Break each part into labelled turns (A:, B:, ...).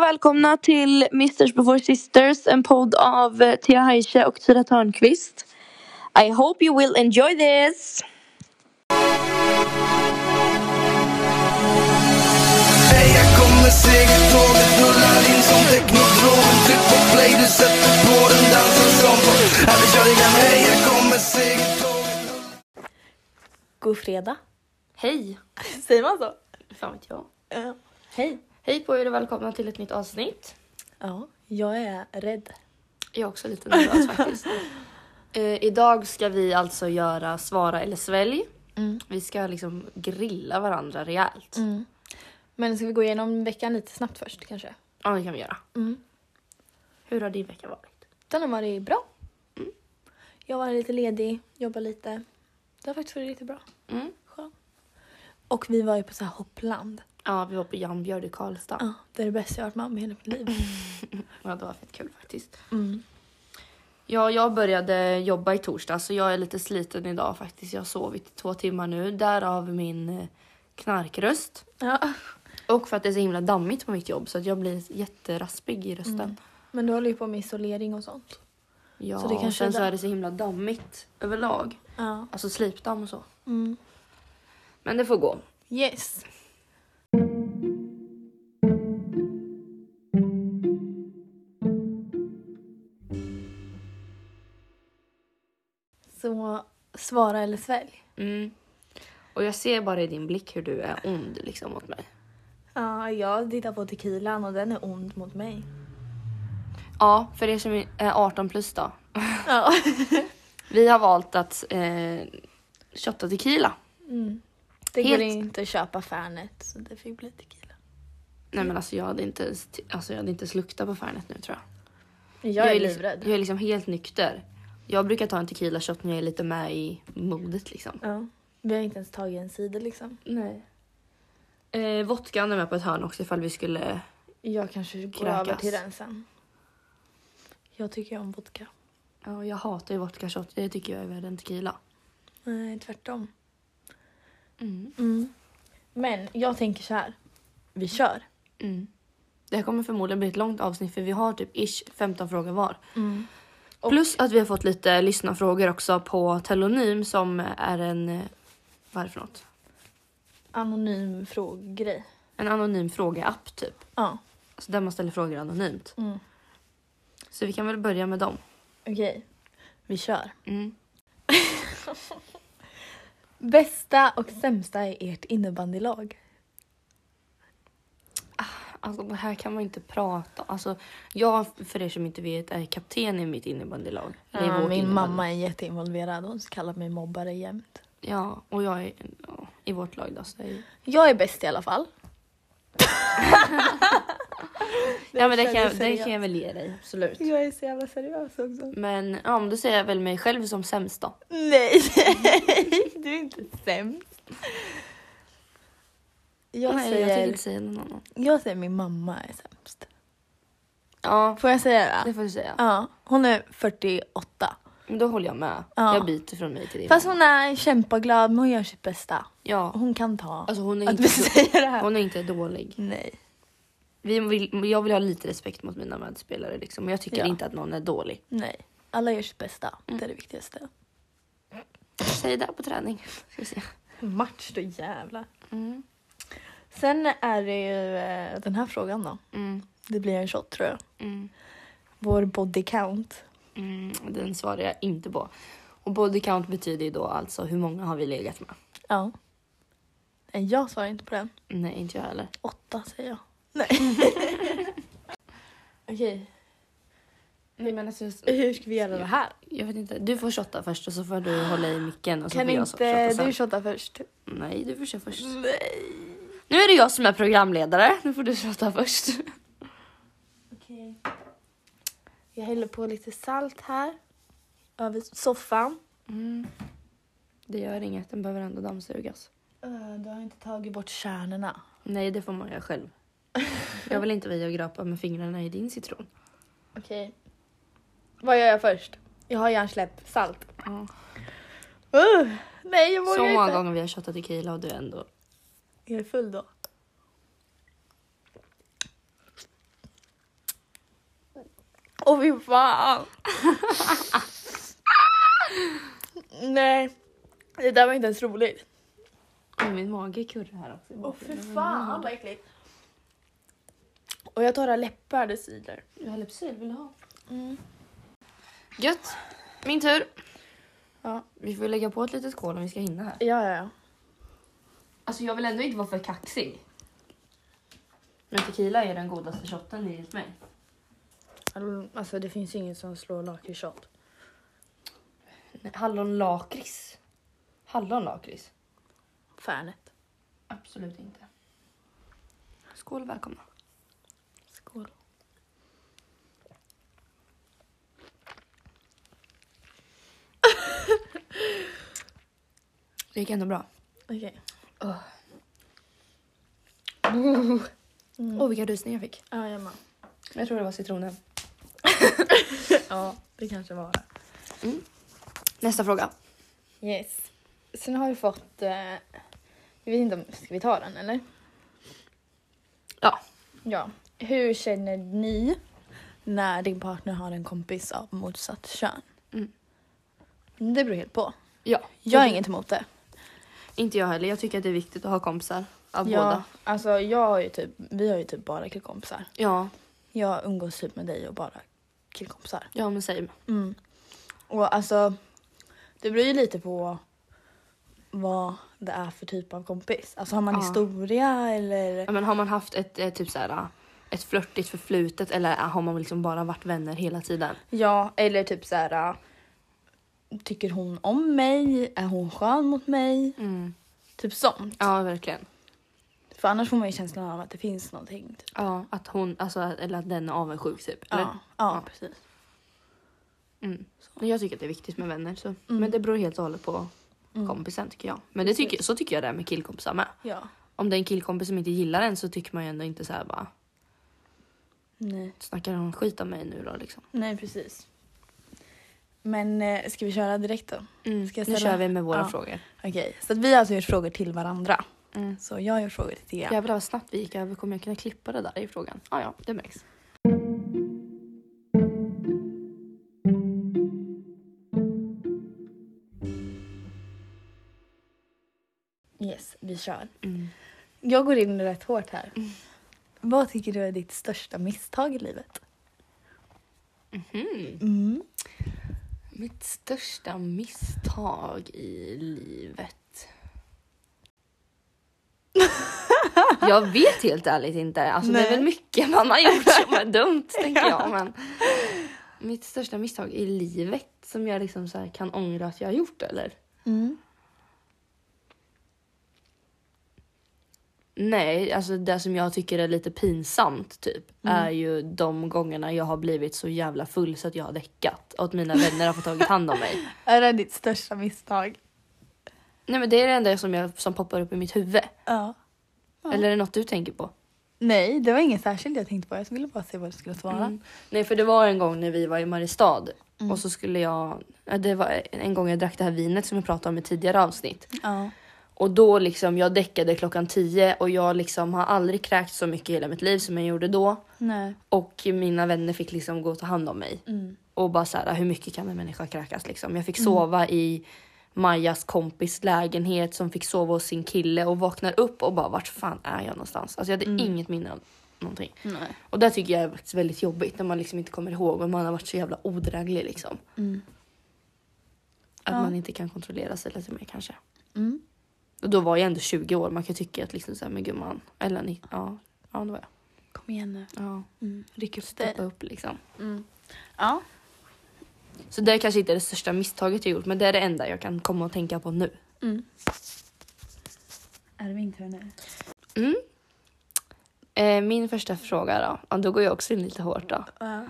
A: välkomna till Misters Before Sisters, en podd av eh, Thea Heise och Tyra Törnqvist. I hope you will enjoy this!
B: Hej, jag kommer segertåget rullar in som teknodromen Tryck på play, du sätter på den dansen som på Här vi kör igen, hej, jag kommer segertåget
C: God fredag.
D: Hej!
C: Säger man så?
D: Fan vet jag.
C: Hej.
D: Hej på er och välkomna till ett nytt avsnitt.
C: Ja, jag är rädd.
D: Jag är också lite nervös faktiskt. Eh, idag ska vi alltså göra svara eller svälj. Vi ska liksom grilla varandra rejält.
C: Men ska vi gå igenom veckan lite snabbt först kanske?
D: Ja det kan vi göra. Hur har din vecka varit?
C: Den har varit bra. Mm. Jag var lite ledig, jobbade lite. Det har faktiskt varit riktigt bra.
D: Mm.
C: Skönt. Och vi var ju på så här hoppland.
D: Ja vi var på Jan Björd i Karlstad.
C: Ja, det är det bästa jag har varit med om i hela mitt liv.
D: Ja det var fett kul faktiskt.
C: Mm.
D: Ja jag började jobba i torsdag så jag är lite sliten idag faktiskt. Jag har sovit i två timmar nu. Därav min eh, knarkröst.
C: Ja.
D: Och för att det är så himla dammigt på mitt jobb så att jag blir jätteraspig i rösten.
C: Men du håller ju på med isolering och sånt.
D: Ja,
C: Mm. Så det kanske
D: och sen
C: är
D: så
C: där-
D: är det så himla dammigt överlag.
C: Ja.
D: Alltså slipdamm och så.
C: Mm.
D: Men det får gå.
C: Yes. Så svara eller svälj?
D: Mm. Och jag ser bara i din blick hur du är ond liksom mot mig.
C: Ja, jag tittar på tequilan och den är ond mot mig.
D: Ja, för er som är 18 plus då.
C: Ja.
D: Vi har valt att eh, shotta tequila.
C: Mm. Det
D: Helt-
C: går inte att köpa Fernet så det fick bli tequila.
D: Nej men alltså jag hade inte, ens t- alltså, jag hade inte ens luktat på Fernet nu tror jag.
C: Jag, är
D: liksom,
C: livrädd.
D: Jag är liksom helt nykter. Jag brukar ta en tequila shot när jag är lite med i modet liksom.
C: Ja. Vi har inte ens tagit en cider liksom.
D: Nej. Eh, vodkan är med på ett hörn också ifall vi skulle
C: Jag kanske går
D: Kräkas.
C: över till den sen. Jag tycker om vodka.
D: Ja, jag hatar ju vodka shot. Det tycker jag är värre än tequila.
C: Nej, tvärtom.
D: Mm.
C: Men jag tänker så här. Vi kör.
D: Mm. Det här kommer förmodligen bli ett långt avsnitt för vi har typ ish 15 frågor var.
C: Mm.
D: Plus att vi har fått lite lyssnarfrågor också på Telonym som är en... eh, Vad är det för något?
C: Anonym fråggrej.
D: En anonym frågeapp typ.
C: Ja,
D: Alltså där man ställer frågor anonymt.
C: Mm.
D: Så vi kan väl börja med dem.
C: okej. Vi kör.
D: Mm.
C: Bästa och sämsta i ert innebandylag?
D: Alltså det här kan man inte prata Alltså jag, för er som inte vet, är kapten i mitt innebandylag. Eller i
C: Ja,
D: vårt
C: min
D: innebandy-
C: mamma är jätteinvolverad. Hon kallar mig mobbare jämt.
D: Ja, och jag är ja, i vårt lag då. Så jag är...
C: Jag är bäst i alla fall.
D: Ja men det
C: känns
D: kan, jag- det
C: seriöst.
D: kan jag väl ge dig, absolut.
C: Jag är så jävla seriös också.
D: Men ja, men då säger jag väl mig själv som sämst då.
C: Nej, du är inte sämst. Jag,
D: Nej, jag
C: säger,
D: tänker
C: jag,
D: inte säga någon annan.
C: säger min mamma är sämst.
D: Ja,
C: Får jag säga det?
D: det får du säga.
C: Ja, hon är 48.
D: Men Då håller jag med.
C: Ja.
D: Jag byter från mig till din.
C: Fast
D: mamma.
C: hon är kämpaglad men hon gör sitt bästa.
D: Ja,
C: Hon kan ta
D: alltså hon är
C: att vi
D: inte, då...
C: säger det här.
D: hon är inte dålig.
C: Nej.
D: Vi vill, jag vill ha lite respekt mot mina medspelare liksom. Jag tycker
C: Ja.
D: inte att någon är dålig.
C: Nej. Alla gör sitt bästa. Det är det viktigaste.
D: Säg det här på träning. Ska vi se.
C: Match då jävla.
D: Mm.
C: Sen är det ju eh, den här frågan då.
D: Mm.
C: Det blir en shot tror jag.
D: Mm.
C: Vår body count.
D: Mm. Den svarar jag inte på. Och body count betyder ju då alltså hur många har vi legat med?
C: Ja. Nej, jag svarar inte på den.
D: Nej, inte jag heller.
C: Åtta säger jag. Nej. Okej,
D: Nej, men alltså,
C: hur ska vi göra det här?
D: Jag vet inte. Du får shotta först och så får du hålla i micken och så
C: Kan
D: får jag shotta
C: inte
D: sen.
C: du Mm. shotta först?
D: Nej, du får köra först.
C: Nej.
D: Nu är det jag som är programledare. Nu får du shotta först.
C: Okej. Jag häller på lite salt här. Över soffan. Mm.
D: Det gör inget, den behöver ändå dammsugas.
C: Eh, Du har inte tagit bort kärnorna.
D: Nej, det får man göra själv. Jag vill inte vara och grapa med fingrarna i din citron.
C: Okej. Vad gör jag först? Jag har hjärnsläpp. Salt.
D: Ja.
C: Uh, nej, jag vågar
D: Så många
C: inte.
D: gånger vi har shottat tequila och du är ändå...
C: Jag är full då. Åh fy fan. Nej, det där var inte ens roligt.
D: Oj, Min mage kurrar här alltså. också.
C: Åh fy fan vad äckligt. Och jag tar läppar det sidor.
D: Jag har Lypsyl, vill du ha?
C: Mm.
D: Gött. Min tur.
C: Ja.
D: Vi får lägga på ett litet kol om vi ska hinna här.
C: Ja, ja, ja.
D: Alltså jag vill ändå inte vara för kaxig. Men tequila är den godaste shotten enligt mig.
C: Alltså det finns ingen som slår lakritsshot.
D: Hallonlakrits. Hallonlakrits?
C: Färnet.
D: Absolut inte. Skål och välkomna.
C: Skål.
D: Det gick ändå bra.
C: Okej.
D: Åh vilka rysningar jag fick.
C: Ja, jag med.
D: Mm. Jag tror det var citronen.
C: Ja, det kanske var det.
D: Nästa fråga.
C: Yes. Sen har vi fått... Eh, jag vet inte om... Ska vi ta den eller?
D: Ja.
C: Ja. Hur känner ni när din partner har en kompis av motsatt kön?
D: Mm.
C: Det beror helt på.
D: Ja.
C: Jag har inget emot det.
D: Inte jag heller. Jag tycker att det är viktigt att ha kompisar. Av
C: Jag,
D: båda.
C: alltså jag har ju typ, vi har ju typ bara killkompisar.
D: Ja.
C: Jag umgås typ med dig och bara killkompisar.
D: Ja men säg.
C: Mm. Och alltså, det beror ju lite på vad det är för typ av kompis. Alltså har man
D: Ja.
C: historia eller?
D: Ja, men har man haft ett eh, typ så här, eh, ett flörtigt förflutet eller eh, har man liksom bara varit vänner hela tiden?
C: Ja, eller typ så här. äh, Tycker hon om mig? Är hon skön mot mig? Typ sånt.
D: Mm. Ja verkligen.
C: För annars får man ju känslan av att det finns någonting. Typ.
D: Ja. Att hon, alltså, eller att den är avundsjuk typ.
C: Ja,
D: Eller?
C: ja, precis.
D: Mm. Men Jag tycker att det är viktigt med vänner. Så.
C: Mm.
D: Men det beror helt och hållet på kompisen tycker jag. Men det tycker, så tycker jag det är med killkompisar med.
C: Ja.
D: Om det är en killkompis som inte gillar en så tycker man ju ändå inte så här bara
C: Nej.
D: snackar hon skit om mig nu då liksom.
C: Nej, precis. Men eh, ska vi köra direkt då? Mm, Ska jag
D: Mm, Nu
C: ställa-
D: kör vi med våra
C: Ja.
D: frågor.
C: Okej, så att vi har alltså gjort frågor till varandra.
D: Mm.
C: Så jag har gjort frågor till Thea.
D: Jävlar vad snabbt vi gick över. Kommer jag kunna klippa det där i frågan? Ja, ja, det märks.
C: Yes, vi kör.
D: Mm.
C: Jag går in rätt hårt här. Vad tycker du är ditt största misstag i livet? Mm.
D: Mitt största misstag i livet. jag vet helt ärligt inte. Alltså, det är
C: Nej.
D: väl mycket man har gjort som är dumt, tänker jag. Men mitt största misstag i livet som jag liksom så här kan ångra att jag har gjort, eller?
C: Mm.
D: Nej, alltså det som jag tycker är lite pinsamt typ är ju de gångerna jag har blivit så jävla full så att jag har däckat och att mina vänner har fått tagit hand om mig.
C: Är det ditt största misstag?
D: Nej men det är det enda som, jag, som poppar upp i mitt huvud.
C: Ja.
D: Eller är det något du tänker på?
C: Nej, det var inget särskilt jag tänkte på. Jag ville bara se vad du skulle svara.
D: Mm. Nej för det var en gång när vi var i Mariestad och så skulle jag, ja, det var en gång jag drack det här vinet som jag pratade om i tidigare avsnitt.
C: Ja.
D: Och då liksom, jag däckade klockan 10 och jag liksom har aldrig kräkt så mycket i hela mitt liv som jag gjorde då.
C: Nej.
D: Och mina vänner fick liksom gå och ta hand om mig.
C: Mm.
D: Och bara så här, hur mycket kan en människa kräkas liksom? Jag fick sova i Majas kompis lägenhet som fick sova hos sin kille och vaknar upp och bara vart fan är jag någonstans? Alltså jag hade inget minne av någonting.
C: Nej.
D: Och det tycker jag är faktiskt väldigt jobbigt när man liksom inte kommer ihåg och man har varit så jävla odräglig liksom. Att man inte kan kontrollera sig lite mer kanske.
C: Mm.
D: Och då var jag ändå 20 år, man kan tycka att liksom såhär, men gumman. Eller ni, ja, ja det var jag.
C: Kom igen nu.
D: Ja.
C: Mm.
D: Ryck upp, steppa upp liksom.
C: Ja.
D: Så det kanske inte är det största misstaget jag gjort men det är det enda jag kan komma och tänka på nu.
C: Är det min tur nu?
D: Mm. Eh, min första fråga då. Ja, då går jag också in lite hårt då.
C: Ja.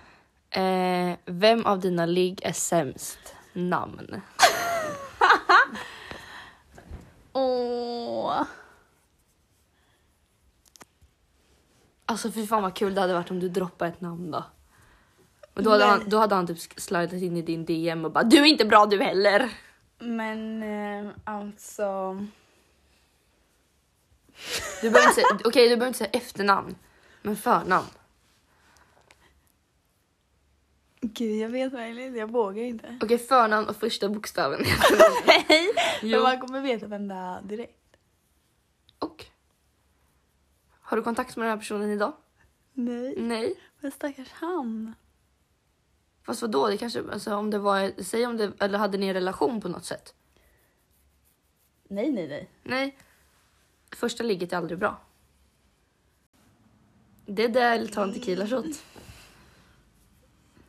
D: Eh, vem av dina ligg är sämst? Namn.
C: Åh.
D: Alltså fy fan vad kul det hade varit om du droppade ett namn då. Och då, hade
C: Men-
D: han, då hade han typ sk- slidat in i din DM och bara du är inte bra du heller.
C: Men eh, alltså...
D: Du behöver inte säga, okej du behöver inte säga efternamn men förnamn.
C: Gud, jag vet verkligen inte. Jag vågar inte.
D: Okej, förnamn och första bokstaven.
C: Nej!
D: Jo.
C: Men man kommer veta vem det är direkt.
D: och? Har du kontakt med den här personen idag?
C: Nej.
D: Nej.
C: Mm. Men stackars han.
D: Fast vadå, det kanske, alltså, om det var, säg om det, eller hade ni en relation på något sätt?
C: Nej, nej, nej.
D: Nej. Första ligget är aldrig bra. Det där eller ta en tequila shot.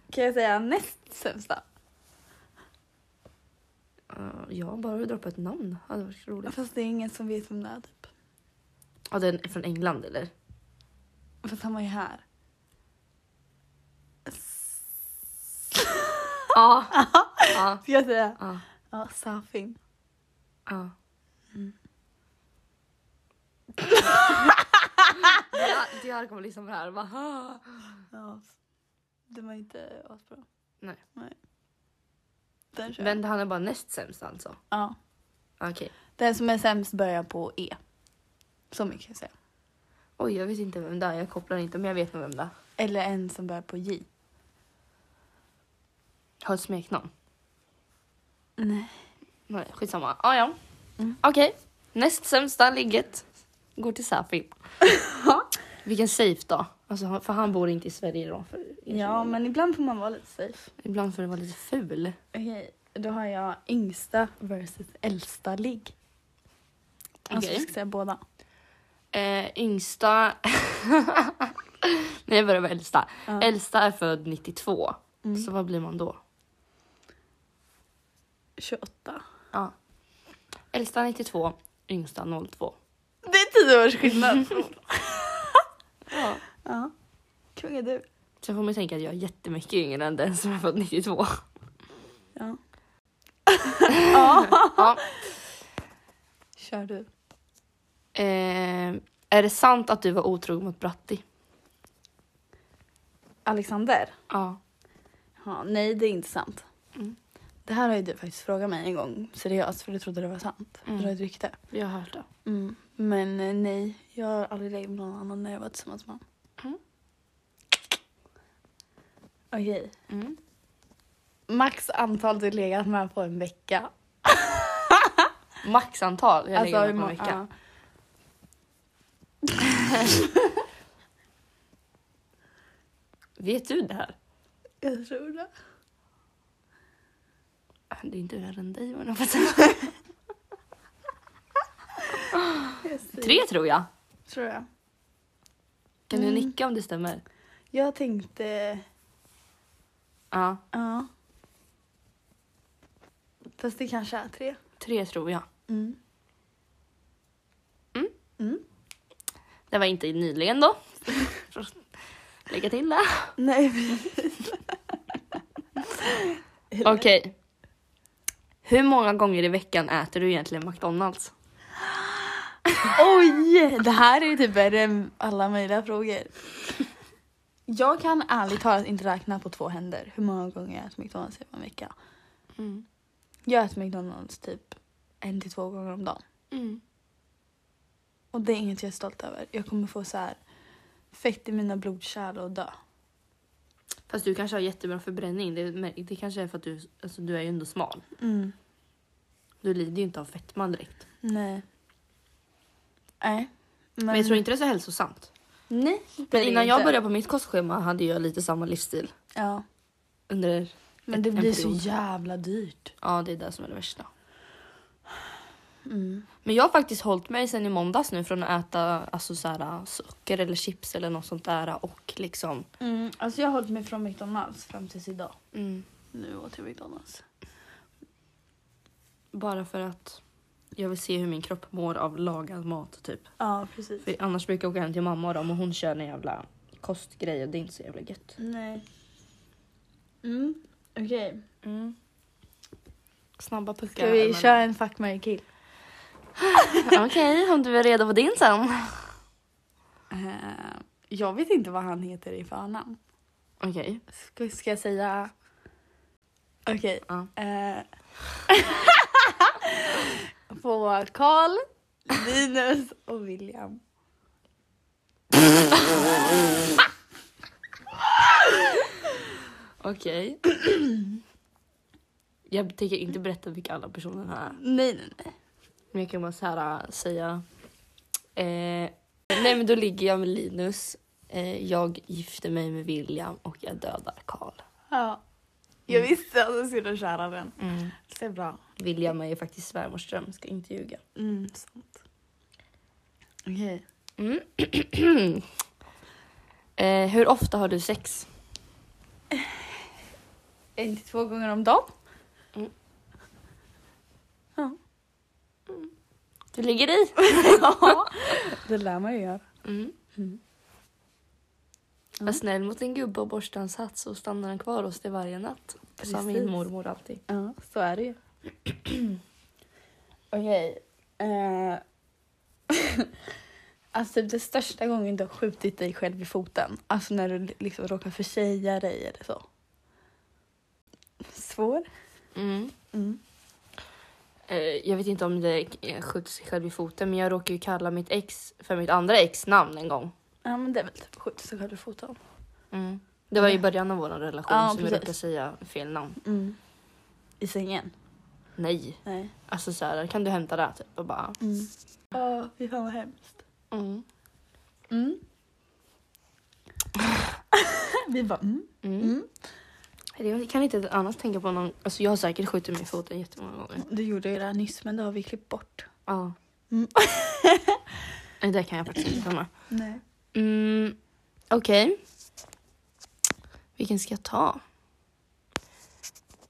C: Kan jag säga näst sämsta?
D: Eh, ja, bara du droppar ett namn hade varit roligt.
C: Fast det är ingen som vet vem det är typ.
D: Ja, den är från England eller?
C: Fast han var ju här.
D: Ja. Ja.
C: Ska jag säga?
D: Ja.
C: Ja, Safin.
D: Ja. Mm. Ja, Diar kommer lyssna på det här och bara "Ah."
C: Ja. Det var inte asbra.
D: Nej.
C: Nej. Den kör jag.
D: Men han är bara näst sämst alltså?
C: Ja.
D: Okej.
C: Den som är sämst börjar på E. Så mycket kan jag säga.
D: Oj, jag vet inte vem det är. Jag kopplar inte, men jag vet nog vem det är.
C: Eller en som börjar på J.
D: Har ett smeknamn?
C: Nej.
D: Nej, skitsamma. Ah, ja. Okej. Näst sämsta ligget går till Safi. Vilken safe då? Alltså, han- för han bor inte i Sverige då. För
C: Ja, men ibland får man vara lite safe.
D: Ibland får det vara lite ful.
C: Okej, då har jag yngsta versus äldsta ligg. Alltså,
D: Okej.
C: jag ska säga båda.
D: Eh, yngsta... Nej, jag börjar med äldsta.
C: Ja.
D: Äldsta är född 92. Så vad blir man då?
C: 28.
D: Ja. Äldsta 92, yngsta 02.
C: Det är tio års skillnad.
D: Ja.
C: ja. Kung är du.
D: Sen får man ju tänka att jag är jättemycket yngre än den som är född 92.
C: Ja.
D: Ja.
C: Kör du.
D: Eh, är det sant att du var otrogen mot Bratti?
C: Alexander?
D: Ja.
C: Ja, nej, det är inte sant.
D: Mm.
C: Det här har ju du faktiskt frågat mig en gång seriöst för du trodde det var sant.
D: Mm.
C: Det var ett rykte.
D: Jag har hört det.
C: Men eh, nej, jag har aldrig legat med någon annan när jag var tillsammans med honom.
D: Mm.
C: Okej.
D: Mm.
C: Max antal du legat med på en vecka. Alltså,
D: Maxantal. Jag lägger mig på en
C: hur må-
D: vecka.
C: ja.
D: Vet du det här?
C: Jag tror det.
D: Det är inte värre än dig. men jag får säga.
C: Jag säger-
D: Tre tror jag.
C: Tror jag.
D: Kan du
C: Mm.
D: nicka om det stämmer?
C: Jag tänkte...
D: Ja.
C: Ja. Fast det kanske är tre.
D: Tre tror jag.
C: Mm.
D: Mm. Det var inte nyligen då. Lägga till det.
C: Nej, precis. Eller?
D: Okej. Hur många gånger i veckan äter du egentligen McDonalds?
C: Oj! Det här är ju typ värre än alla möjliga frågor. Jag kan ärligt talat inte räkna på två händer hur många gånger jag äter McDonalds på en vecka.
D: Mm.
C: Jag äter McDonalds typ en till två gånger om dagen. Och det är inget jag är stolt över. Jag kommer få så här fett i mina blodkärl och dö.
D: Fast du kanske har jättebra förbränning. Det, det kanske är för att du, alltså, du är ju ändå smal.
C: Mm.
D: Du lider ju inte av fetma direkt.
C: Nej. Nej. Men,
D: Men jag tror inte det är så hälsosamt.
C: Nej. det
D: Men
C: är det
D: innan jag
C: inte.
D: började på mitt kostschema hade jag lite samma livsstil.
C: Ja.
D: Under...
C: Men det
D: en
C: blir så
D: period.
C: jävla dyrt.
D: Ja, det är det som är det värsta.
C: Mm.
D: Men jag har faktiskt hållit mig sen i måndags nu från att äta alltså, så här, socker eller chips eller något sånt där och liksom...
C: Mm. Alltså jag har hållit mig från McDonalds fram tills idag.
D: Mm,
C: Nu åt jag McDonalds.
D: bara för att jag vill se hur min kropp mår av lagad mat typ.
C: Ja, precis.
D: För annars brukar jag åka hem till mamma och dem och hon kör en jävla kostgrej och det är inte så jävla gött.
C: Nej. Mm, okej.
D: Mm. Snabba puckar.
C: Ska vi
D: men-
C: köra en fuck, marry, kill?
D: Okej, om du är redo på din sen.
C: Eh, jag vet inte vad han heter i förnamn.
D: Okej.
C: Ska, ska jag säga... Okej.
D: Ja.
C: eh, på Karl, Linus och William.
D: Okej, Okej. jag tänker inte berätta vilka alla personerna är.
C: Nej, nej, nej.
D: Men jag kan bara så här, äh, säga... Eh, nej men då ligger jag med Linus. Eh, jag gifter mig med William och jag dödar Karl.
C: Ja. Jag visste att du skulle köra den. Det är bra.
D: William är ju faktiskt svärmors dröm, ska inte ljuga.
C: Mm, sant. Okej.
D: Mm. eh, hur ofta har du sex?
C: En till två gånger om dagen.
D: Du ligger i.
C: Det lär man ju göra.
D: Mm. Var
C: Mm.
D: snäll mot en gubbe och borsta hans hatt så stannar han kvar hos dig varje natt. Sa min
C: Precis.
D: mormor alltid.
C: Ja, så är det ju. Okej. eh, alltså typ det största gången du har skjutit dig själv i foten. Alltså när du liksom råkar försäga dig eller så. Svår.
D: Mm. Eh, jag vet inte om det eh, skjuter sig själv i foten men jag råkar ju kalla mitt ex för mitt andra ex namn en gång.
C: Ja men det är väl typ skjuta sig själv i foten.
D: Det var i början av vår relation
C: Ja,
D: som jag
C: precis.
D: råkade säga fel namn.
C: Mm. I sängen?
D: Nej.
C: Nej.
D: Alltså så här, kan du hämta det? Typ. Och bara,
C: Mm. Ja, fy fan vad hemskt.
D: mm.
C: Mm. Vi bara mm.
D: Mm. Jag kan inte annars tänka på någon, alltså jag har säkert skjutit mig i foten jättemånga gånger.
C: Du gjorde ju det här nyss men det har vi klippt bort.
D: Ja. Mm. Nej, det kan jag faktiskt inte komma.
C: Nej.
D: Mm, Okej. Vilken ska jag ta?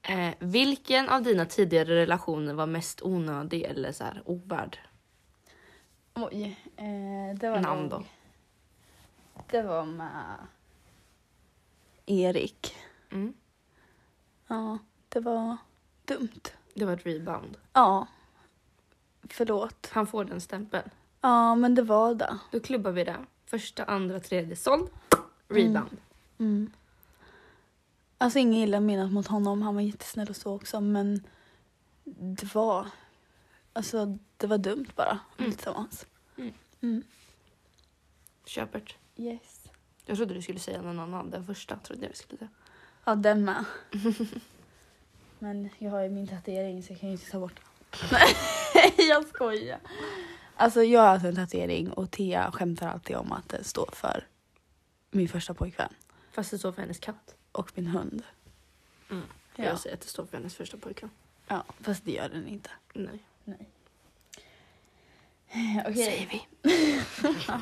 D: Eh, vilken av dina tidigare relationer var mest onödig eller så här ovärd?
C: Oj. Eh, det var
D: Namn
C: nog-
D: då.
C: Det var med Erik.
D: Mm.
C: Ja, det var dumt.
D: Det var ett rebound.
C: Ja. Förlåt.
D: Han får den stämpeln.
C: Ja, men det var det.
D: Då klubbar vi det. Första, andra, tredje, såld. Rebound.
C: Mm. Alltså ingen illa menat mot honom. Han var jättesnäll och så också, men det var... Alltså, det var dumt bara. Mm. Tillsammans. Mm.
D: Köpert.
C: Yes.
D: Jag trodde du skulle säga någon annan. Den första trodde jag du skulle säga.
C: Ja, den med. men jag har ju min tatuering så jag kan ju inte ta bort den. jag skojar. Alltså jag har alltså en tatuering och Thea skämtar alltid om att det står för min första pojkvän
D: Fast det står för hennes katt.
C: och min hund. Mm. Ja.
D: Jag säger att det står för hennes första pojkvän.
C: ja, fast det gör den inte.
D: Nej.
C: Nej. Eh, Okej.
D: Säger vi.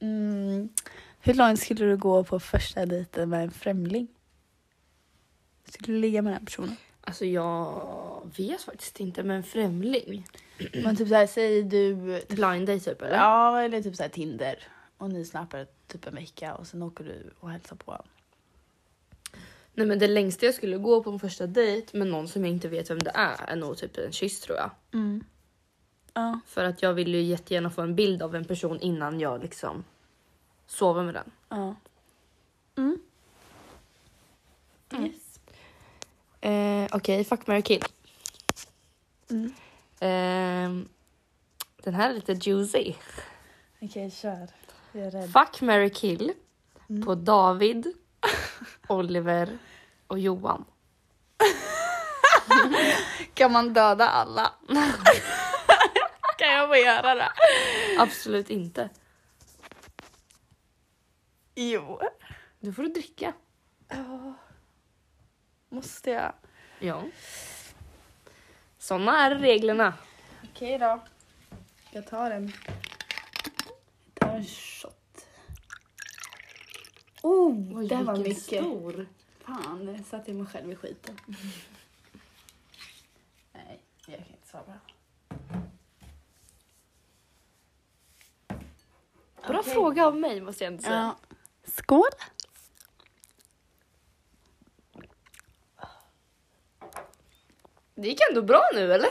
C: Mm. Hur långt skulle du gå på första dejten med en främling? Skulle du ligga med den här personen?
D: Alltså jag vet faktiskt inte men främling.
C: Men typ såhär, säger du
D: Blind date typ eller?
C: Ja, eller typ så här Tinder. Och ni snappar typ en vecka och sen åker du och hälsar på honom.
D: Nej men det längsta jag skulle gå på en första dejt med någon som jag inte vet vem det är är nog typ en kyss tror jag.
C: Mm. Ja.
D: För att jag vill ju jättegärna få en bild av en person innan jag liksom sover med den.
C: ja. Yes.
D: Eh, Okej, fuck, marry, kill. Mm. Ehm, den här är lite juicy.
C: Okej, kör. Jag är rädd.
D: Fuck, marry, kill på David, Oliver och Johan.
C: Kan man döda alla? kan jag få göra det?
D: Absolut inte.
C: Jo.
D: Nu får du dricka.
C: Måste jag?
D: Ja. Såna är reglerna.
C: Okej då. Jag tar en. Jag tar en shot. Oh, det var mycket.
D: stor.
C: Fan, nu satte jag mig själv i skiten. Nej, jag kan inte svara.
D: Bra fråga av mig måste jag ändå säga.
C: Ja. Skål!
D: Det gick ändå bra nu eller?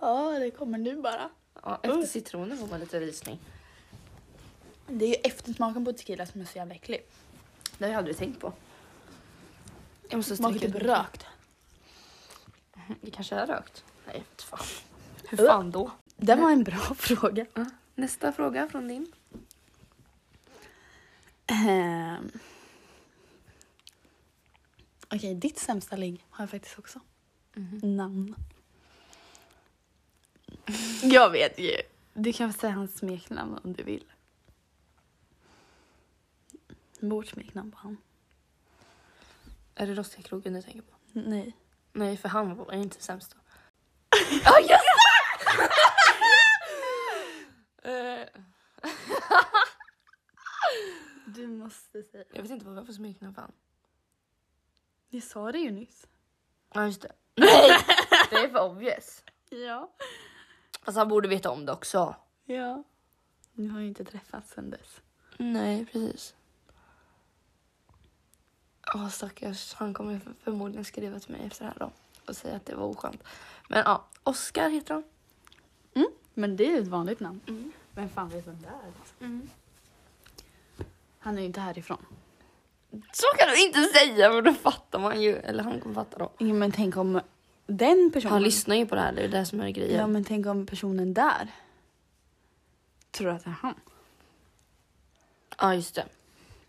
C: Ja, det kommer nu bara.
D: Ja, efter citronen får man lite rysning.
C: Det är ju eftersmaken på tequila som är så jävla äcklig.
D: Det har jag aldrig tänkt på. Jag måste
C: Smakar
D: stryka
C: typ
D: ut.
C: rökt.
D: Det kanske är rökt. Nej, jag vet fan. Hur fan då?
C: Det var en bra fråga.
D: Nästa fråga från din.
C: Ehm. Okej, ditt sämsta ligg har jag faktiskt också. Namn. Jag vet ju. Du kan säga hans smeknamn om du vill. Vårt smeknamn på han.
D: Är det Rostikrogen du tänker på?
C: Nej.
D: Nej, för han var inte sämst.
C: Ja, just det! Du måste säga.
D: Jag vet inte vad vi har för smeknamn för han.
C: Jag sa det ju nyss.
D: Ja, just det. Nej! det är för obvious.
C: Ja.
D: Fast han borde veta om det också.
C: Ja. Ni har ju inte träffats sen dess.
D: Nej, precis. Ja, stackars. Han kommer för- förmodligen skriva till mig efter det här då och säga att det var oskönt. Men ja, Oskar heter han.
C: Men det är ett vanligt namn. Men fan vet vem det är? Liksom. Han är ju inte härifrån.
D: Så kan du inte säga, men då fattar man ju. Eller han kommer fatta då.
C: Ja, men tänk om den personen...
D: Han lyssnar ju på det här, det är det som är
C: Ja,
D: grejen.
C: men tänk om personen där tror att det är han.
D: Ja, just det.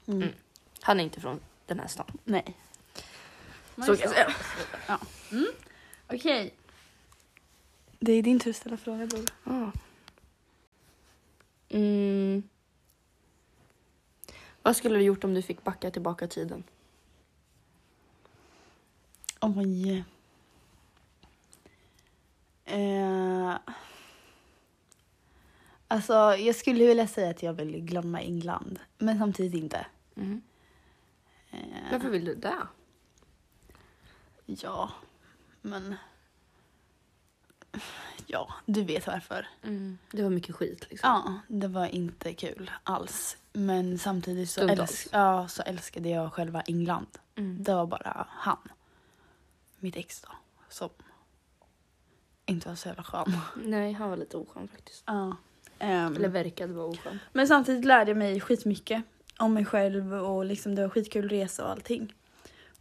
C: Mm.
D: Mm. Han är inte från den här stan.
C: Nej.
D: Så Mm. kan jag säga.
C: Okej. Det är din tur att ställa fråga, bror.
D: Ja. Ah. Mm. Vad skulle du gjort om du fick backa tillbaka tiden?
C: Oj. Eh, alltså, jag skulle vilja säga att jag vill glömma England, men samtidigt inte.
D: Mm.
C: Eh,
D: Varför vill du det?
C: ja, men... Ja, du vet varför.
D: Det var mycket skit liksom.
C: Ja, det var inte kul alls. Men samtidigt så,
D: Stundtals.
C: älsk- ja, så älskade jag själva England.
D: Mm.
C: Det var bara han, mitt ex då, som inte var så jävla skön.
D: Nej, han var lite oskön faktiskt.
C: Ja.
D: Eller verkade vara oskön.
C: Men samtidigt lärde jag mig skitmycket om mig själv och liksom det var skitkul resa och allting.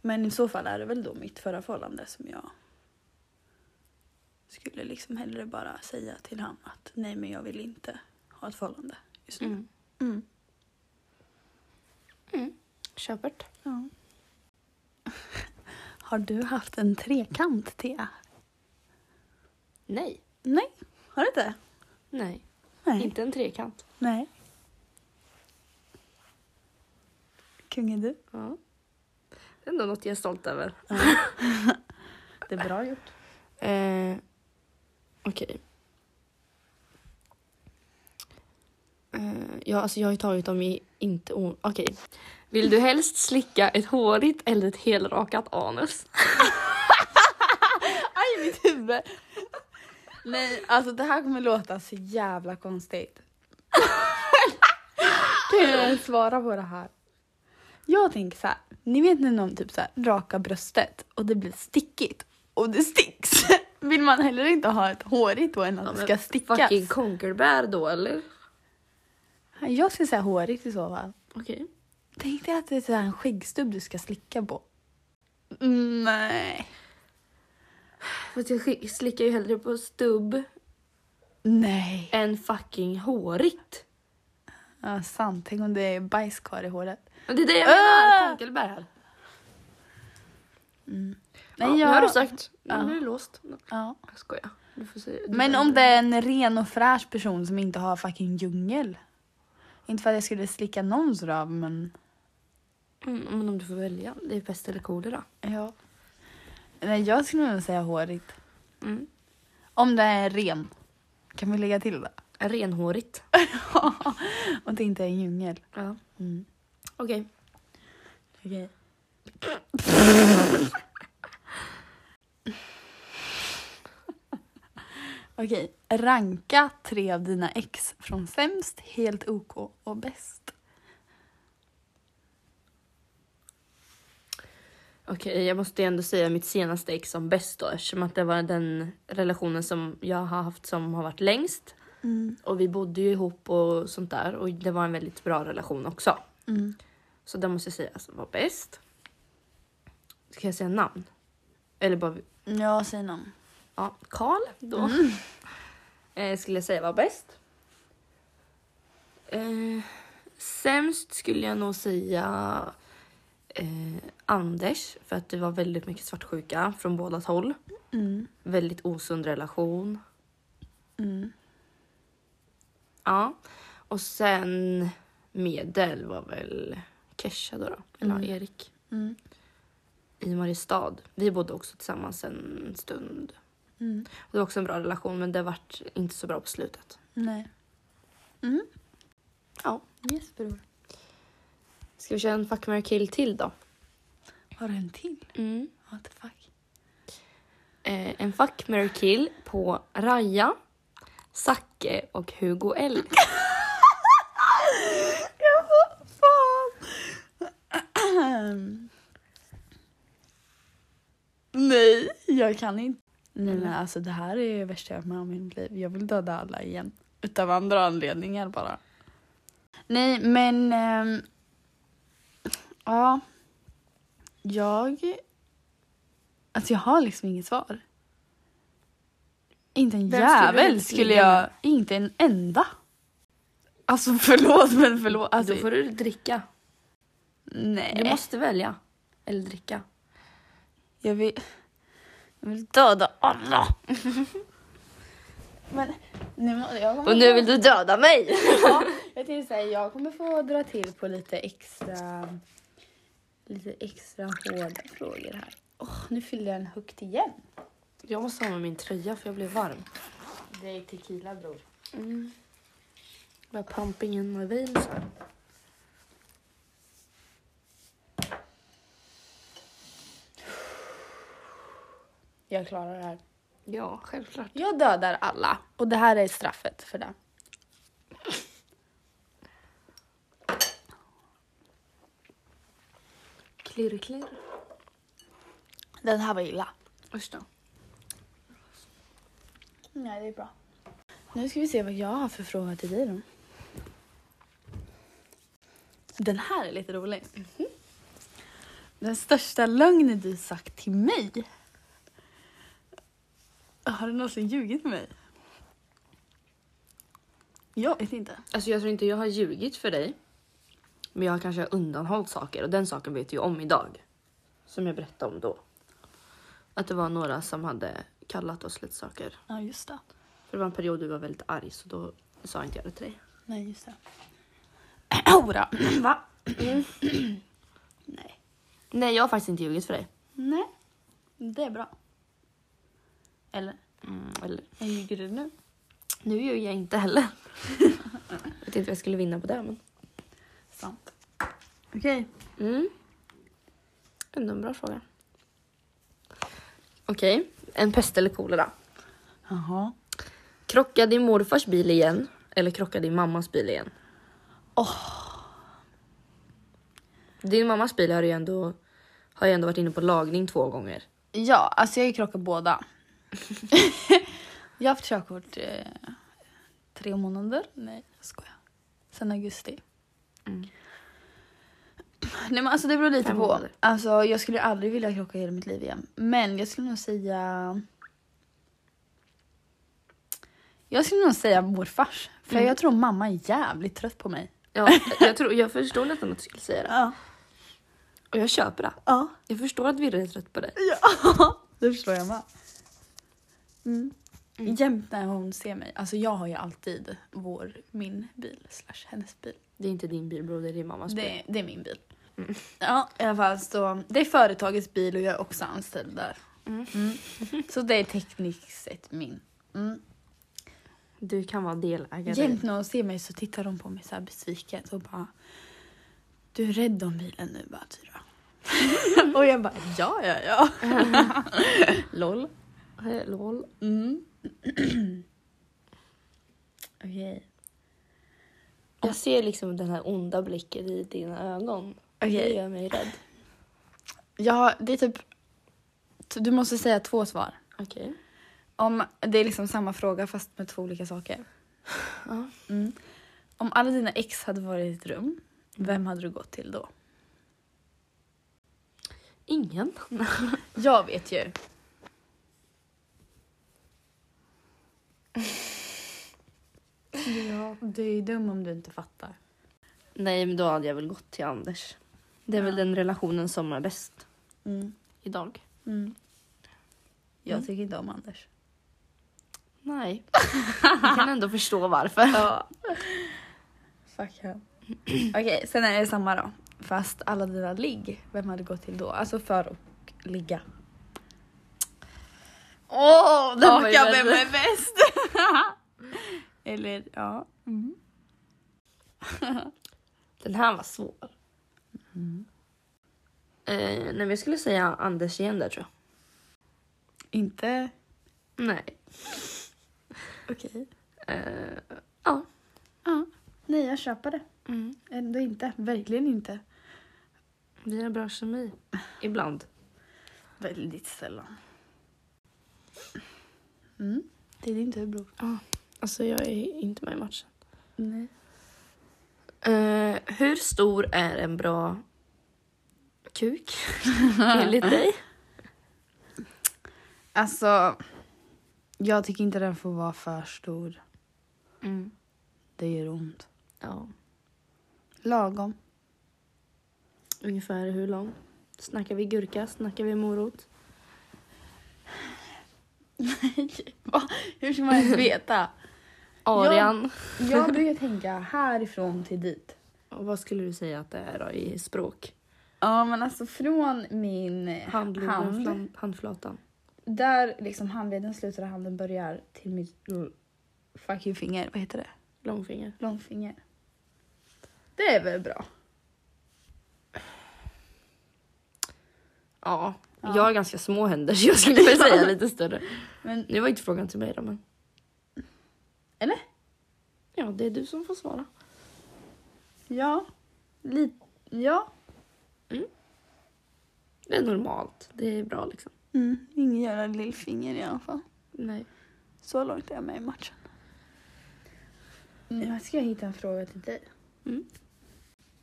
C: Men i så fall är det väl då mitt förra förhållande som jag skulle liksom hellre bara säga till honom att nej men jag vill inte ha ett förhållande just nu.
D: Mm.
C: Mm.
D: Köpert.
C: Ja. Har du haft en trekant, Thea?
D: Nej.
C: Nej, har du inte?
D: Nej.
C: Nej.
D: Inte en trekant.
C: Nej. Kung är du.
D: Ja. Det är ändå något jag är stolt över.
C: Det är bra gjort.
D: Eh, Okej. Eh, ja, alltså jag har ju tagit dem i inte o... Okej. Vill du helst slicka ett hårigt eller ett helrakat anus?
C: Aj, mitt huvud! Nej, alltså det här kommer låta så jävla konstigt. kan jag ens svara på det här? Jag tänker så här, ni vet när någon typ så här rakar bröstet och det blir stickigt och det sticks. Vill man heller inte ha ett hårigt då än att det ska stickas?
D: Fucking conkerbär då eller?
C: Jag skulle säga hårigt i så fall.
D: Okej.
C: Tänk dig att det är så här en skäggstubb du ska slicka på. Nej.
D: Fast jag skick- slickar ju hellre på stubb
C: Nej.
D: än fucking hårigt.
C: Ja, sant. Tänk om det är bajs kvar i håret.
D: Men det är det jag
C: Ah!
D: menar, conkerbär.
C: Nej,
D: ja,
C: jag-
D: Nu har du sagt.
C: Ja.
D: Nu är det låst.
C: Ja.
D: Jag skojar. Du får säga. Du
C: Men
D: får-
C: om det är en ren och fräsch person som inte har fucking djungel. Inte för att jag skulle slicka någons röv, men
D: Mm, men om du får välja. Det är pest eller kolera.
C: ja. Nej, jag skulle nog säga hårigt.
D: Mm.
C: Om det är ren. Kan vi lägga till det?
D: Renhårigt.
C: Om det inte är en djungel.
D: Ja.
C: Mm.
D: Okej.
C: Okej. Okej, ranka tre av dina ex från sämst, helt OK och bäst.
D: Okej, jag måste ju ändå säga mitt senaste ex som bäst då eftersom att det var den relationen som jag har haft som har varit längst.
C: Mm.
D: Och vi bodde ju ihop och sånt där och det var en väldigt bra relation också.
C: Mm.
D: Så det måste jag säga alltså, var bäst. Ska jag säga namn? Eller bara...
C: Ja, säg någon.
D: Ja, Karl då. Eh, skulle jag säga var bäst. Eh, sämst skulle jag nog säga eh, Anders för att det var väldigt mycket svartsjuka från båda håll.
C: Mm.
D: Väldigt osund relation.
C: Mm.
D: Ja. Och sen medel var väl Kesha då. då. Eller
C: Mm.
D: ja, Erik.
C: Mm.
D: I Mariestad. Vi bodde också tillsammans en stund.
C: Mm.
D: Det var också en bra relation men det vart inte så bra på slutet.
C: Nej.
D: Ja.
C: Yes bror.
D: Ska vi köra en fuck, marry, kill till då?
C: Har du en till?
D: Mm.
C: What the fuck?
D: Eh, en fuck, marry, kill på Raja, Zacke och Hugo L.
C: Ja, vad fan! Nej, jag kan inte. Nej, men alltså det här är det värsta jag har varit med om i mitt liv. Jag vill döda alla igen. Utav andra anledningar bara. Nej, men... ehm, ja. Jag... Alltså jag har liksom inget svar. Inte en
D: Vem skulle du
C: jävel
D: helst
C: skulle
D: ligga
C: jag...
D: med?
C: Inte en enda. Alltså förlåt men förlåt. Alltså,
D: Då får du dricka.
C: Nej.
D: Du måste välja. Eller dricka.
C: Jag vill... Jag vill döda alla. Men nu må, jag kommer
D: Och nu vill du döda mig!
C: ja, jag tänkte säga, jag kommer få dra till på lite extra... Lite extra hårda frågor här. Åh, nu fyllde jag en högt igen.
D: Jag måste ha med min tröja för jag blev varm.
C: Det är tequila bror.
D: Jag pumping in my veins.
C: Jag klarar det här.
D: Ja, självklart.
C: Jag dödar alla och det här är straffet för det.
D: Klirr, klirr.
C: Den här var illa.
D: Usch då.
C: Nej, det är bra. Nu ska vi se vad jag har för fråga till dig då. Den här är lite rolig.
D: Mhm.
C: Den största lögnen du sagt till mig. Har du någonsin ljugit för mig? Jag vet inte.
D: Alltså jag tror inte jag har ljugit för dig. Men jag har kanske undanhållit saker och den saken vet jag om idag. Som jag berättade om då. Att det var några som hade kallat oss lite saker.
C: Ja, just det.
D: För det var en period du var väldigt arg så då sa inte jag det till dig.
C: Nej, just det. Hora.
D: Va?
C: Nej.
D: Nej jag har faktiskt inte ljugit för dig.
C: Nej. Det är bra. Eller?
D: Mm, eller,
C: Jag ljuger du nu?
D: nu ljuger jag inte heller. jag vet inte vad jag skulle vinna på det men.
C: Sant. Okej.
D: Mm. Ändå en bra fråga. Okej, en pest eller kolera?
C: Jaha.
D: Krocka din morfars bil igen eller krocka din mammas bil igen? Din mammas bil har ju ändå, har ju ändå varit inne på lagning två gånger.
C: Ja, alltså jag har ju krockat båda. jag har haft körkort eh, tre månader. Nej, jag skojar. Sen augusti.
D: Mm.
C: Nej men alltså det beror lite
D: Fem
C: på.
D: månader.
C: Alltså jag skulle aldrig vilja krocka hela mitt liv igen. Men jag skulle nog säga... Jag skulle nog säga morfars. För
D: Mm.
C: jag tror mamma är jävligt trött på mig.
D: Ja, jag, tror, jag förstår nästan att du skulle säga det.
C: Ja.
D: Och jag köper det.
C: Ja.
D: Jag förstår att Virre är trött på dig.
C: Det förstår jag med. Mm. Jämt när hon ser mig. Alltså jag har ju alltid vår, min bil slash hennes bil.
D: Det är inte din bil bror, det är din mammas bil.
C: Det, det är min bil. Mm. Ja, i alla fall så. Det är företagets bil och jag är också anställd där. Mm. Så det är tekniskt sett min. Mm.
D: Du kan vara delägare.
C: Jämt när hon ser mig så tittar hon på mig så här besviket och bara. Du är rädd om bilen nu va Tyra? och jag bara ja ja ja. Lol.
D: Eh, Lol.
C: Mm. Okej.
D: Jag ser liksom den här onda blicken i dina ögon. Det
C: Okej.
D: gör mig rädd.
C: Ja, det är typ... Du måste säga två svar.
D: Okej.
C: Om Det är liksom samma fråga fast med två olika saker.
D: Ja.
C: Mm. Om alla dina ex hade varit i ett rum, vem hade du gått till då?
D: Ingen.
C: Jag vet ju. Ja, du är ju dum om du inte fattar.
D: Nej men då hade jag väl gått till Anders. Det är väl den relationen som är bäst
C: Mm.
D: idag.
C: Mm. Jag tycker inte om Anders.
D: Nej. Jag kan ändå förstå varför.
C: Ja. Fuck him. Okej, sen är det samma då. Fast alla dina ligg, vem hade gått till då? Alltså för och ligga. Åh, oh,
D: den var ju väldigt-
C: bäst? Eller ja.
D: Den här var svår. Mm. Eh, nej, vi skulle säga Anders igen där tror
C: Inte
D: jag. Nej.
C: okej.
D: Eh, ja.
C: Ja. Nej, jag köper det.
D: Mm.
C: Ändå inte. Verkligen inte.
D: Vi har bra kemi. Ibland.
C: Väldigt sällan. Mm. Det är din tur bror.
D: Alltså jag är inte med i matchen.
C: Nej.
D: Eh, hur stor är en bra kuk enligt dig?
C: Alltså, jag tycker inte den får vara för stor. Det gör ont.
D: Mm. Ja.
C: Lagom.
D: Ungefär hur lång? Snackar vi gurka? Snackar vi morot?
C: Hur ska man ens veta?
D: Arian.
C: jag brukar tänka härifrån till dit.
D: Och vad skulle du säga att det är då i språk?
C: Ja, men alltså från min
D: Handleden,
C: hand.
D: flam- handflatan.
C: Där liksom handleden slutar och handen börjar till mitt fucking finger. Vad heter det?
D: Långfinger.
C: Långfinger. Det är väl bra?
D: Ja. Jag har ganska små händer så jag skulle väl säga lite större.
C: Men,
D: Nu var inte frågan till mig då men.
C: eller?
D: Ja det är du som får svara.
C: Ja. Lite. Ja.
D: Det är normalt. Det är bra liksom.
C: Mm. Ingen jävla lillfinger i alla fall.
D: Nej.
C: Så långt är jag med i matchen. Nu ska jag hitta en fråga till dig.
D: Mm.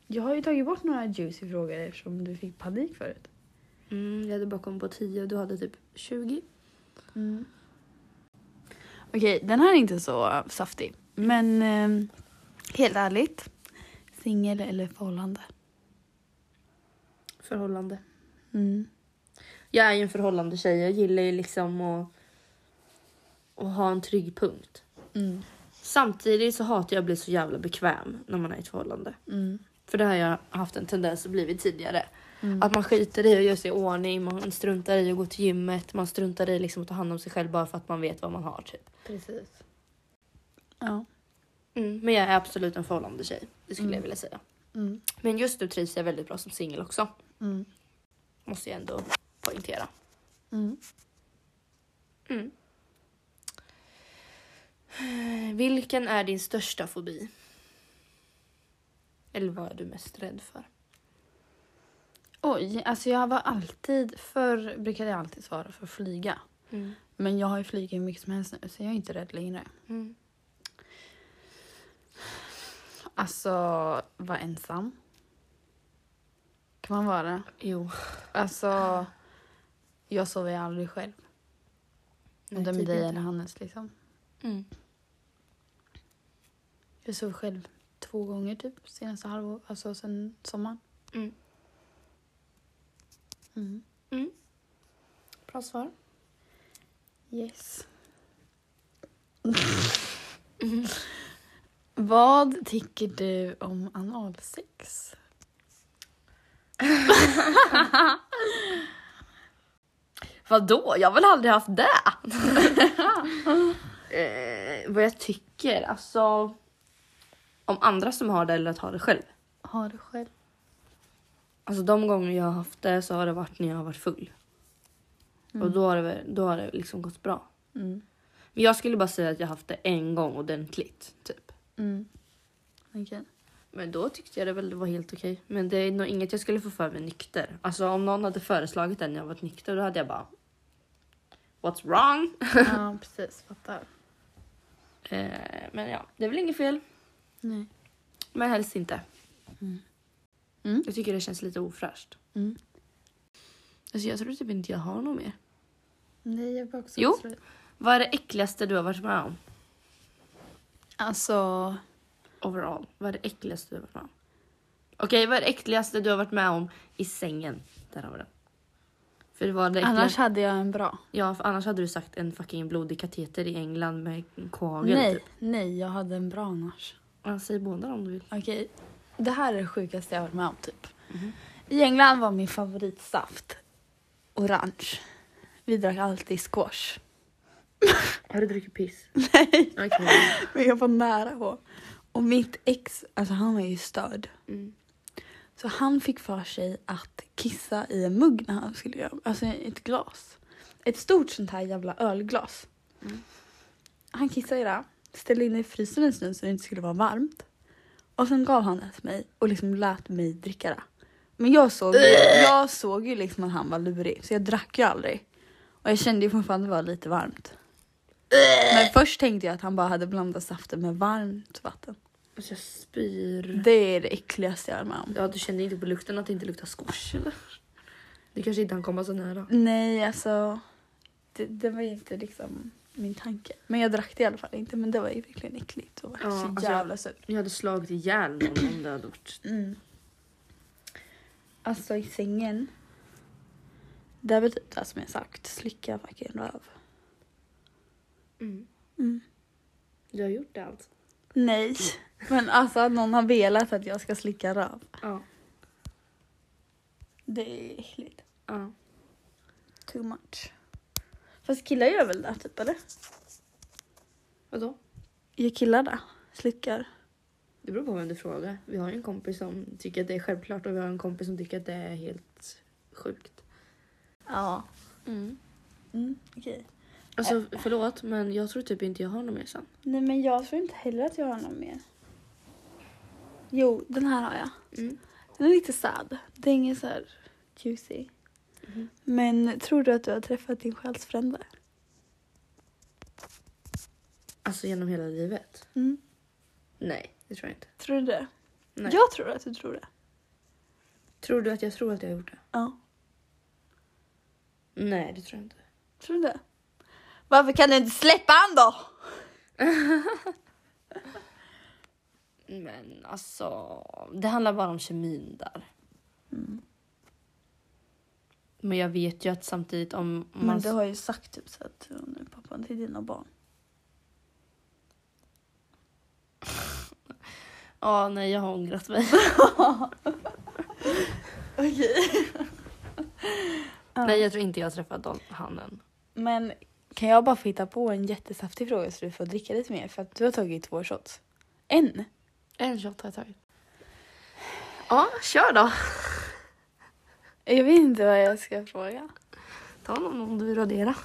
C: Jag har ju tagit bort några juicy frågor eftersom du fick panik förut.
D: Mm, jag hade bara kommit på 10 och du hade typ 20.
C: Mm. Okej, den här är inte så saftig. Men eh, helt ärligt, singel eller förhållande?
D: Förhållande.
C: Mm.
D: Jag är ju en förhållande tjej. Jag gillar ju liksom att, att ha en trygg punkt.
C: Mm.
D: Samtidigt så hatar jag att bli så jävla bekväm när man är i ett förhållande.
C: Mm.
D: För det har jag haft en tendens att bli tidigare. Att man skiter i att göra sig i ordning, man struntar i att gå till gymmet, man struntar i liksom att ta hand om sig själv bara för att man vet vad man har. Typ.
C: Precis. Ja.
D: Mm. Men jag är absolut en förhållande tjej, det skulle jag vilja säga.
C: Mm.
D: Men just nu trivs jag väldigt bra som singel också.
C: Mm.
D: Måste jag ändå poängtera.
C: Mm.
D: Mm. Eh, Vilken är din största fobi? Eller vad är du mest rädd för?
C: Oj, alltså jag var alltid, förr brukade jag alltid svara för att flyga.
D: Mm.
C: Men jag har ju flugit hur mycket som helst nu så jag är inte rädd längre.
D: Mm.
C: Alltså, vara ensam. Kan man vara?
D: Jo.
C: Alltså, jag sover ju aldrig själv. Om det är med dig
D: inte.
C: eller Hannes liksom.
D: Mm.
C: Jag sov själv två gånger typ senaste halvåret, alltså sen sommaren.
D: Mm.
C: Mm.
D: Mm. Bra svar.
C: Yes. Vad tycker du om analsex?
D: Vadå? Jag har väl aldrig haft det? eh, vad jag tycker? Alltså... Om andra som har det eller att ha det själv.
C: Har du själv?
D: Alltså de gånger jag har haft det så har det varit när jag har varit full. Och då har, det, väl- då har det liksom gått bra.
C: Mm.
D: Men jag skulle bara säga att jag har haft det en gång ordentligt. Typ.
C: Mm. Okej.
D: Men då tyckte jag det väl var helt okej. Men det är nog inget jag skulle få för mig nykter. Alltså om någon hade föreslagit det när jag var nykter då hade jag bara... What's wrong?
C: Ja, precis. Fattar.
D: Eh, men ja, det är väl inget fel.
C: Nej.
D: Men helst inte.
C: Mm.
D: Jag tycker det känns lite ofräscht.
C: Mm.
D: Alltså jag tror typ inte jag har något mer.
C: Nej, jag var också
D: Jo.
C: absolut-
D: Vad är det äckligaste du har varit med om?
C: Alltså,
D: Overall. Vad är det äckligaste du har varit med om? Okej, vad är det äckligaste du har varit med om i sängen? Där har vi den. För det var det äckligaste.
C: Annars hade jag en bra.
D: Ja, för annars hade du sagt en fucking blodig kateter i England med en koagel.
C: Nej,
D: Typ.
C: nej, jag hade en bra annars.
D: Ja, säg båda om du vill.
C: Okej, det här är det sjukaste jag varit med om typ. I England var min favoritsaft orange. Vi drack alltid squash.
D: Har du druckit piss? Nej. Okej.
C: Men jag var nära på. Och mitt ex, alltså han var ju störd.
D: Mm.
C: Så han fick för sig att kissa i en mugg när han skulle göra, alltså i ett glas. Ett stort sånt här jävla ölglas. Han kissade i det, ställde in det i frysen en stund så det inte skulle vara varmt. Och sen gav han det till mig och liksom lät mig dricka det. Men jag såg, ju- jag såg ju liksom att han var lurig så jag drack ju aldrig. Och jag kände ju fortfarande att det var lite varmt. Men först tänkte jag att han bara hade blandat saften med varmt vatten.
D: Alltså jag spyr.
C: Det är det äckligaste jag har varit med om.
D: Ja, du kände inte på lukten att det inte luktar squash eller? Du kanske inte hann komma så nära.
C: Nej, alltså. Det, det var ju inte liksom min tanke. Men jag drack det i alla fall inte. Men det var ju verkligen äckligt och var
D: Ja,
C: så
D: alltså-
C: jävla sur.
D: Jag hade slagit ihjäl någon om det hade varit.
C: Mm. Alltså i sängen. Det var typ det som jag sagt. Slicka fucking röv.
D: Mm.
C: Mm.
D: Du har gjort det alltså?
C: Nej. Men alltså att någon har velat att jag ska slicka röv.
D: Ja.
C: Det är äckligt.
D: ja.
C: Too much. Fast killar gör väl det typ eller?
D: Vadå?
C: Gör killar det? Slickar?
D: Det beror på vem du frågar. Vi har ju en kompis som tycker att det är självklart och vi har en kompis som tycker att det är helt sjukt.
C: Ja. Mm, okej.
D: Alltså förlåt men jag tror typ inte jag har något mer sen.
C: Nej men jag tror inte heller att jag har någon mer. Jo, den här har jag.
D: Mm.
C: Den är lite sad. Det är ingen så här juicy.
D: Mhm.
C: Men tror du att du har träffat din själsfrände?
D: Alltså genom hela livet?
C: Mm.
D: Nej, det tror jag inte.
C: Tror du det?
D: Nej.
C: Jag tror att du tror det.
D: Tror du att jag tror att jag har gjort det?
C: Ja.
D: Nej, det tror jag inte.
C: Tror du det? Varför kan du inte släppa han då?
D: Men alltså, det handlar bara om kemin där. Mm. Men jag vet ju att samtidigt om om man...
C: Men du har ju sagt typ så att hon är pappan till dina barn.
D: Ja, nej jag har ångrat mig.
C: Okej. Ja.
D: Nej jag tror inte jag har träffat don- han än.
C: Men kan jag bara få hitta på en jättesaftig fråga så du får dricka lite mer för att du har tagit två shots. En?
D: En shot har jag tagit. Ja, kör då.
C: Jag vet inte vad jag ska fråga.
D: Ta någon om du vill radera.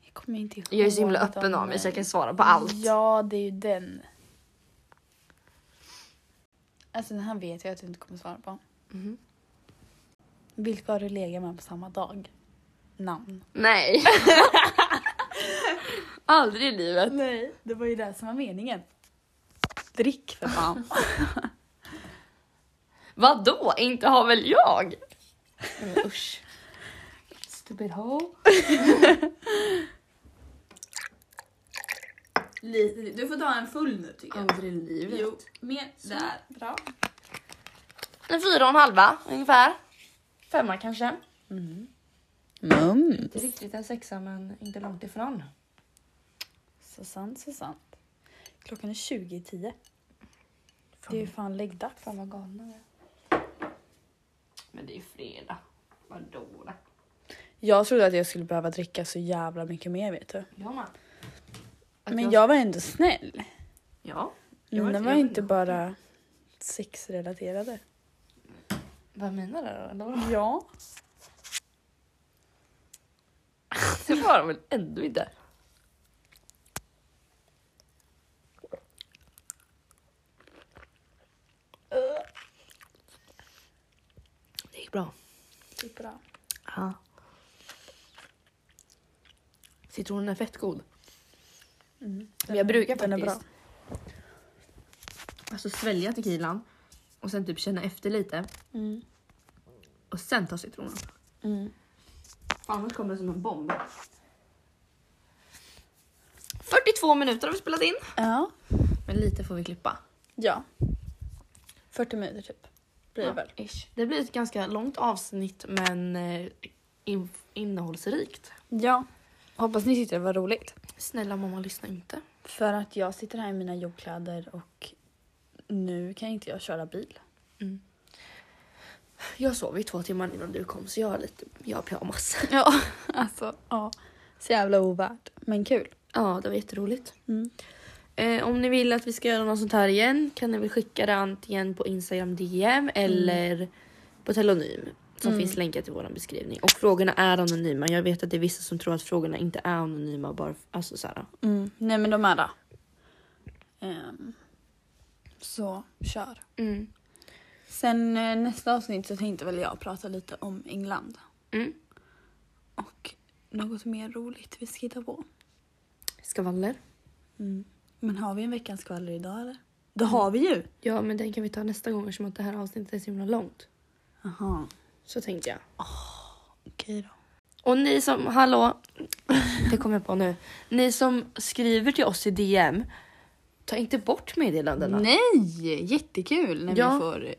C: Jag kommer inte ihåg.
D: Jag är så himla
C: något
D: öppen av mig
C: den.
D: så jag kan svara på allt.
C: Ja, det är ju den. Alltså den här vet jag att du inte kommer svara på.
D: Mhm.
C: Vilka har du legat med på samma dag? Namn.
D: Nej. Aldrig i livet.
C: Nej, det var ju det som var meningen. Drick för fan.
D: Vadå? Inte har väl jag? Men usch. Stupid hoe.
C: Lite, du får ta en full nu tycker
D: Aldrig i livet.
C: mer. Där. Bra.
D: En fyra och en halva ungefär. Femma kanske.
C: Mm.
D: Inte riktigt en sexa men inte långt ifrån.
C: Så sant, så sant. Klockan är 20.10. Det är ju fan läggdags.
D: vad galna vi är. Men det är ju fredag. Vadå då?
C: Jag trodde att jag skulle behöva dricka så jävla mycket mer vet du.
D: Jag med. Att
C: Men jag var ändå snäll.
D: Ja. Jag
C: Mina
D: vet-
C: var
D: jag
C: ju
D: vet
C: inte bara sexrelaterade.
D: Vad menar du då? Eller vadå?
C: Ja.
D: Det var de väl ändå inte? Det gick bra.
C: Det är bra.
D: Ja. Citronen är fett god. Men jag brukar
C: Den är bra.
D: faktiskt alltså svälja tequilan och sen typ känna efter lite
C: Mm.
D: och sen ta citronen.
C: Mm.
D: Annars kommer det som en bomb. 42 minuter har vi spelat in.
C: Ja.
D: Men lite får vi klippa.
C: Ja. 40 minuter typ. Blir det
D: Ja,
C: väl.
D: ish. Det blir ett ganska långt avsnitt men eh, in- innehållsrikt.
C: Ja. Hoppas ni tyckte det var roligt.
D: Snälla mamma lyssna inte.
C: För att jag sitter här i mina jobbkläder och nu kan inte jag köra bil.
D: Jag sov i två timmar innan du kom så jag har lite, jag har pyjamas.
C: Ja, alltså ja. Så jävla ovärt. Men kul.
D: Ja det var jätteroligt.
C: Mm.
D: Eh, om ni vill att vi ska göra något sånt här igen kan ni väl skicka det antingen på Instagram DM eller på telonym. Som finns länkat i vår beskrivning. Och frågorna är anonyma. Jag vet att det är vissa som tror att frågorna inte är anonyma. Bara, f- alltså så här.
C: Mm. Nej men de är det. Ehm, så kör.
D: Mm.
C: Sen eh, nästa avsnitt så tänkte väl jag prata lite om England.
D: Mm.
C: Och något mer roligt vi ska hitta på.
D: Skavaller.
C: Men har vi en veckans skvaller idag eller? Mm. Det har vi ju!
D: Ja men den kan vi ta nästa gång eftersom att det här avsnittet är så himla långt.
C: Jaha,
D: Så tänkte jag.
C: okej då.
D: Och ni som, hallå, det kommer jag på nu. Ni som skriver till oss i DM, ta inte bort meddelandena.
C: Nej! Jättekul när
D: Ja.
C: vi får...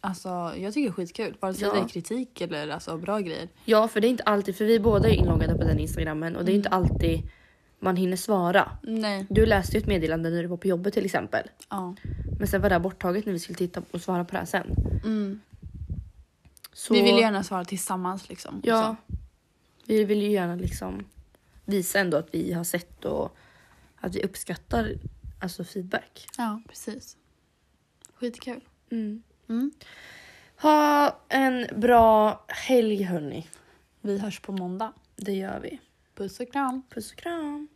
C: Alltså jag tycker det är skitkul. Vare sig
D: Ja.
C: det är kritik eller alltså, bra grejer.
D: Ja för det är inte alltid, för vi båda är inloggade på den instagrammen och det är inte
C: Mm.
D: alltid man hinner svara.
C: Nej.
D: Du läste ju ett meddelande när du var på jobbet till exempel.
C: Ja.
D: Men sen var det här borttaget när vi skulle titta och svara på det här sen.
C: Mm.
D: Så,
C: Vi vill gärna svara tillsammans liksom.
D: Ja. Vi vill ju gärna liksom visa ändå att vi har sett och att vi uppskattar alltså feedback.
C: Ja, precis. Skitkul.
D: Mm.
C: Mm.
D: Ha en bra helg hörni.
C: Vi hörs på måndag.
D: Det gör vi.
C: Puss och kram.
D: Puss och kram.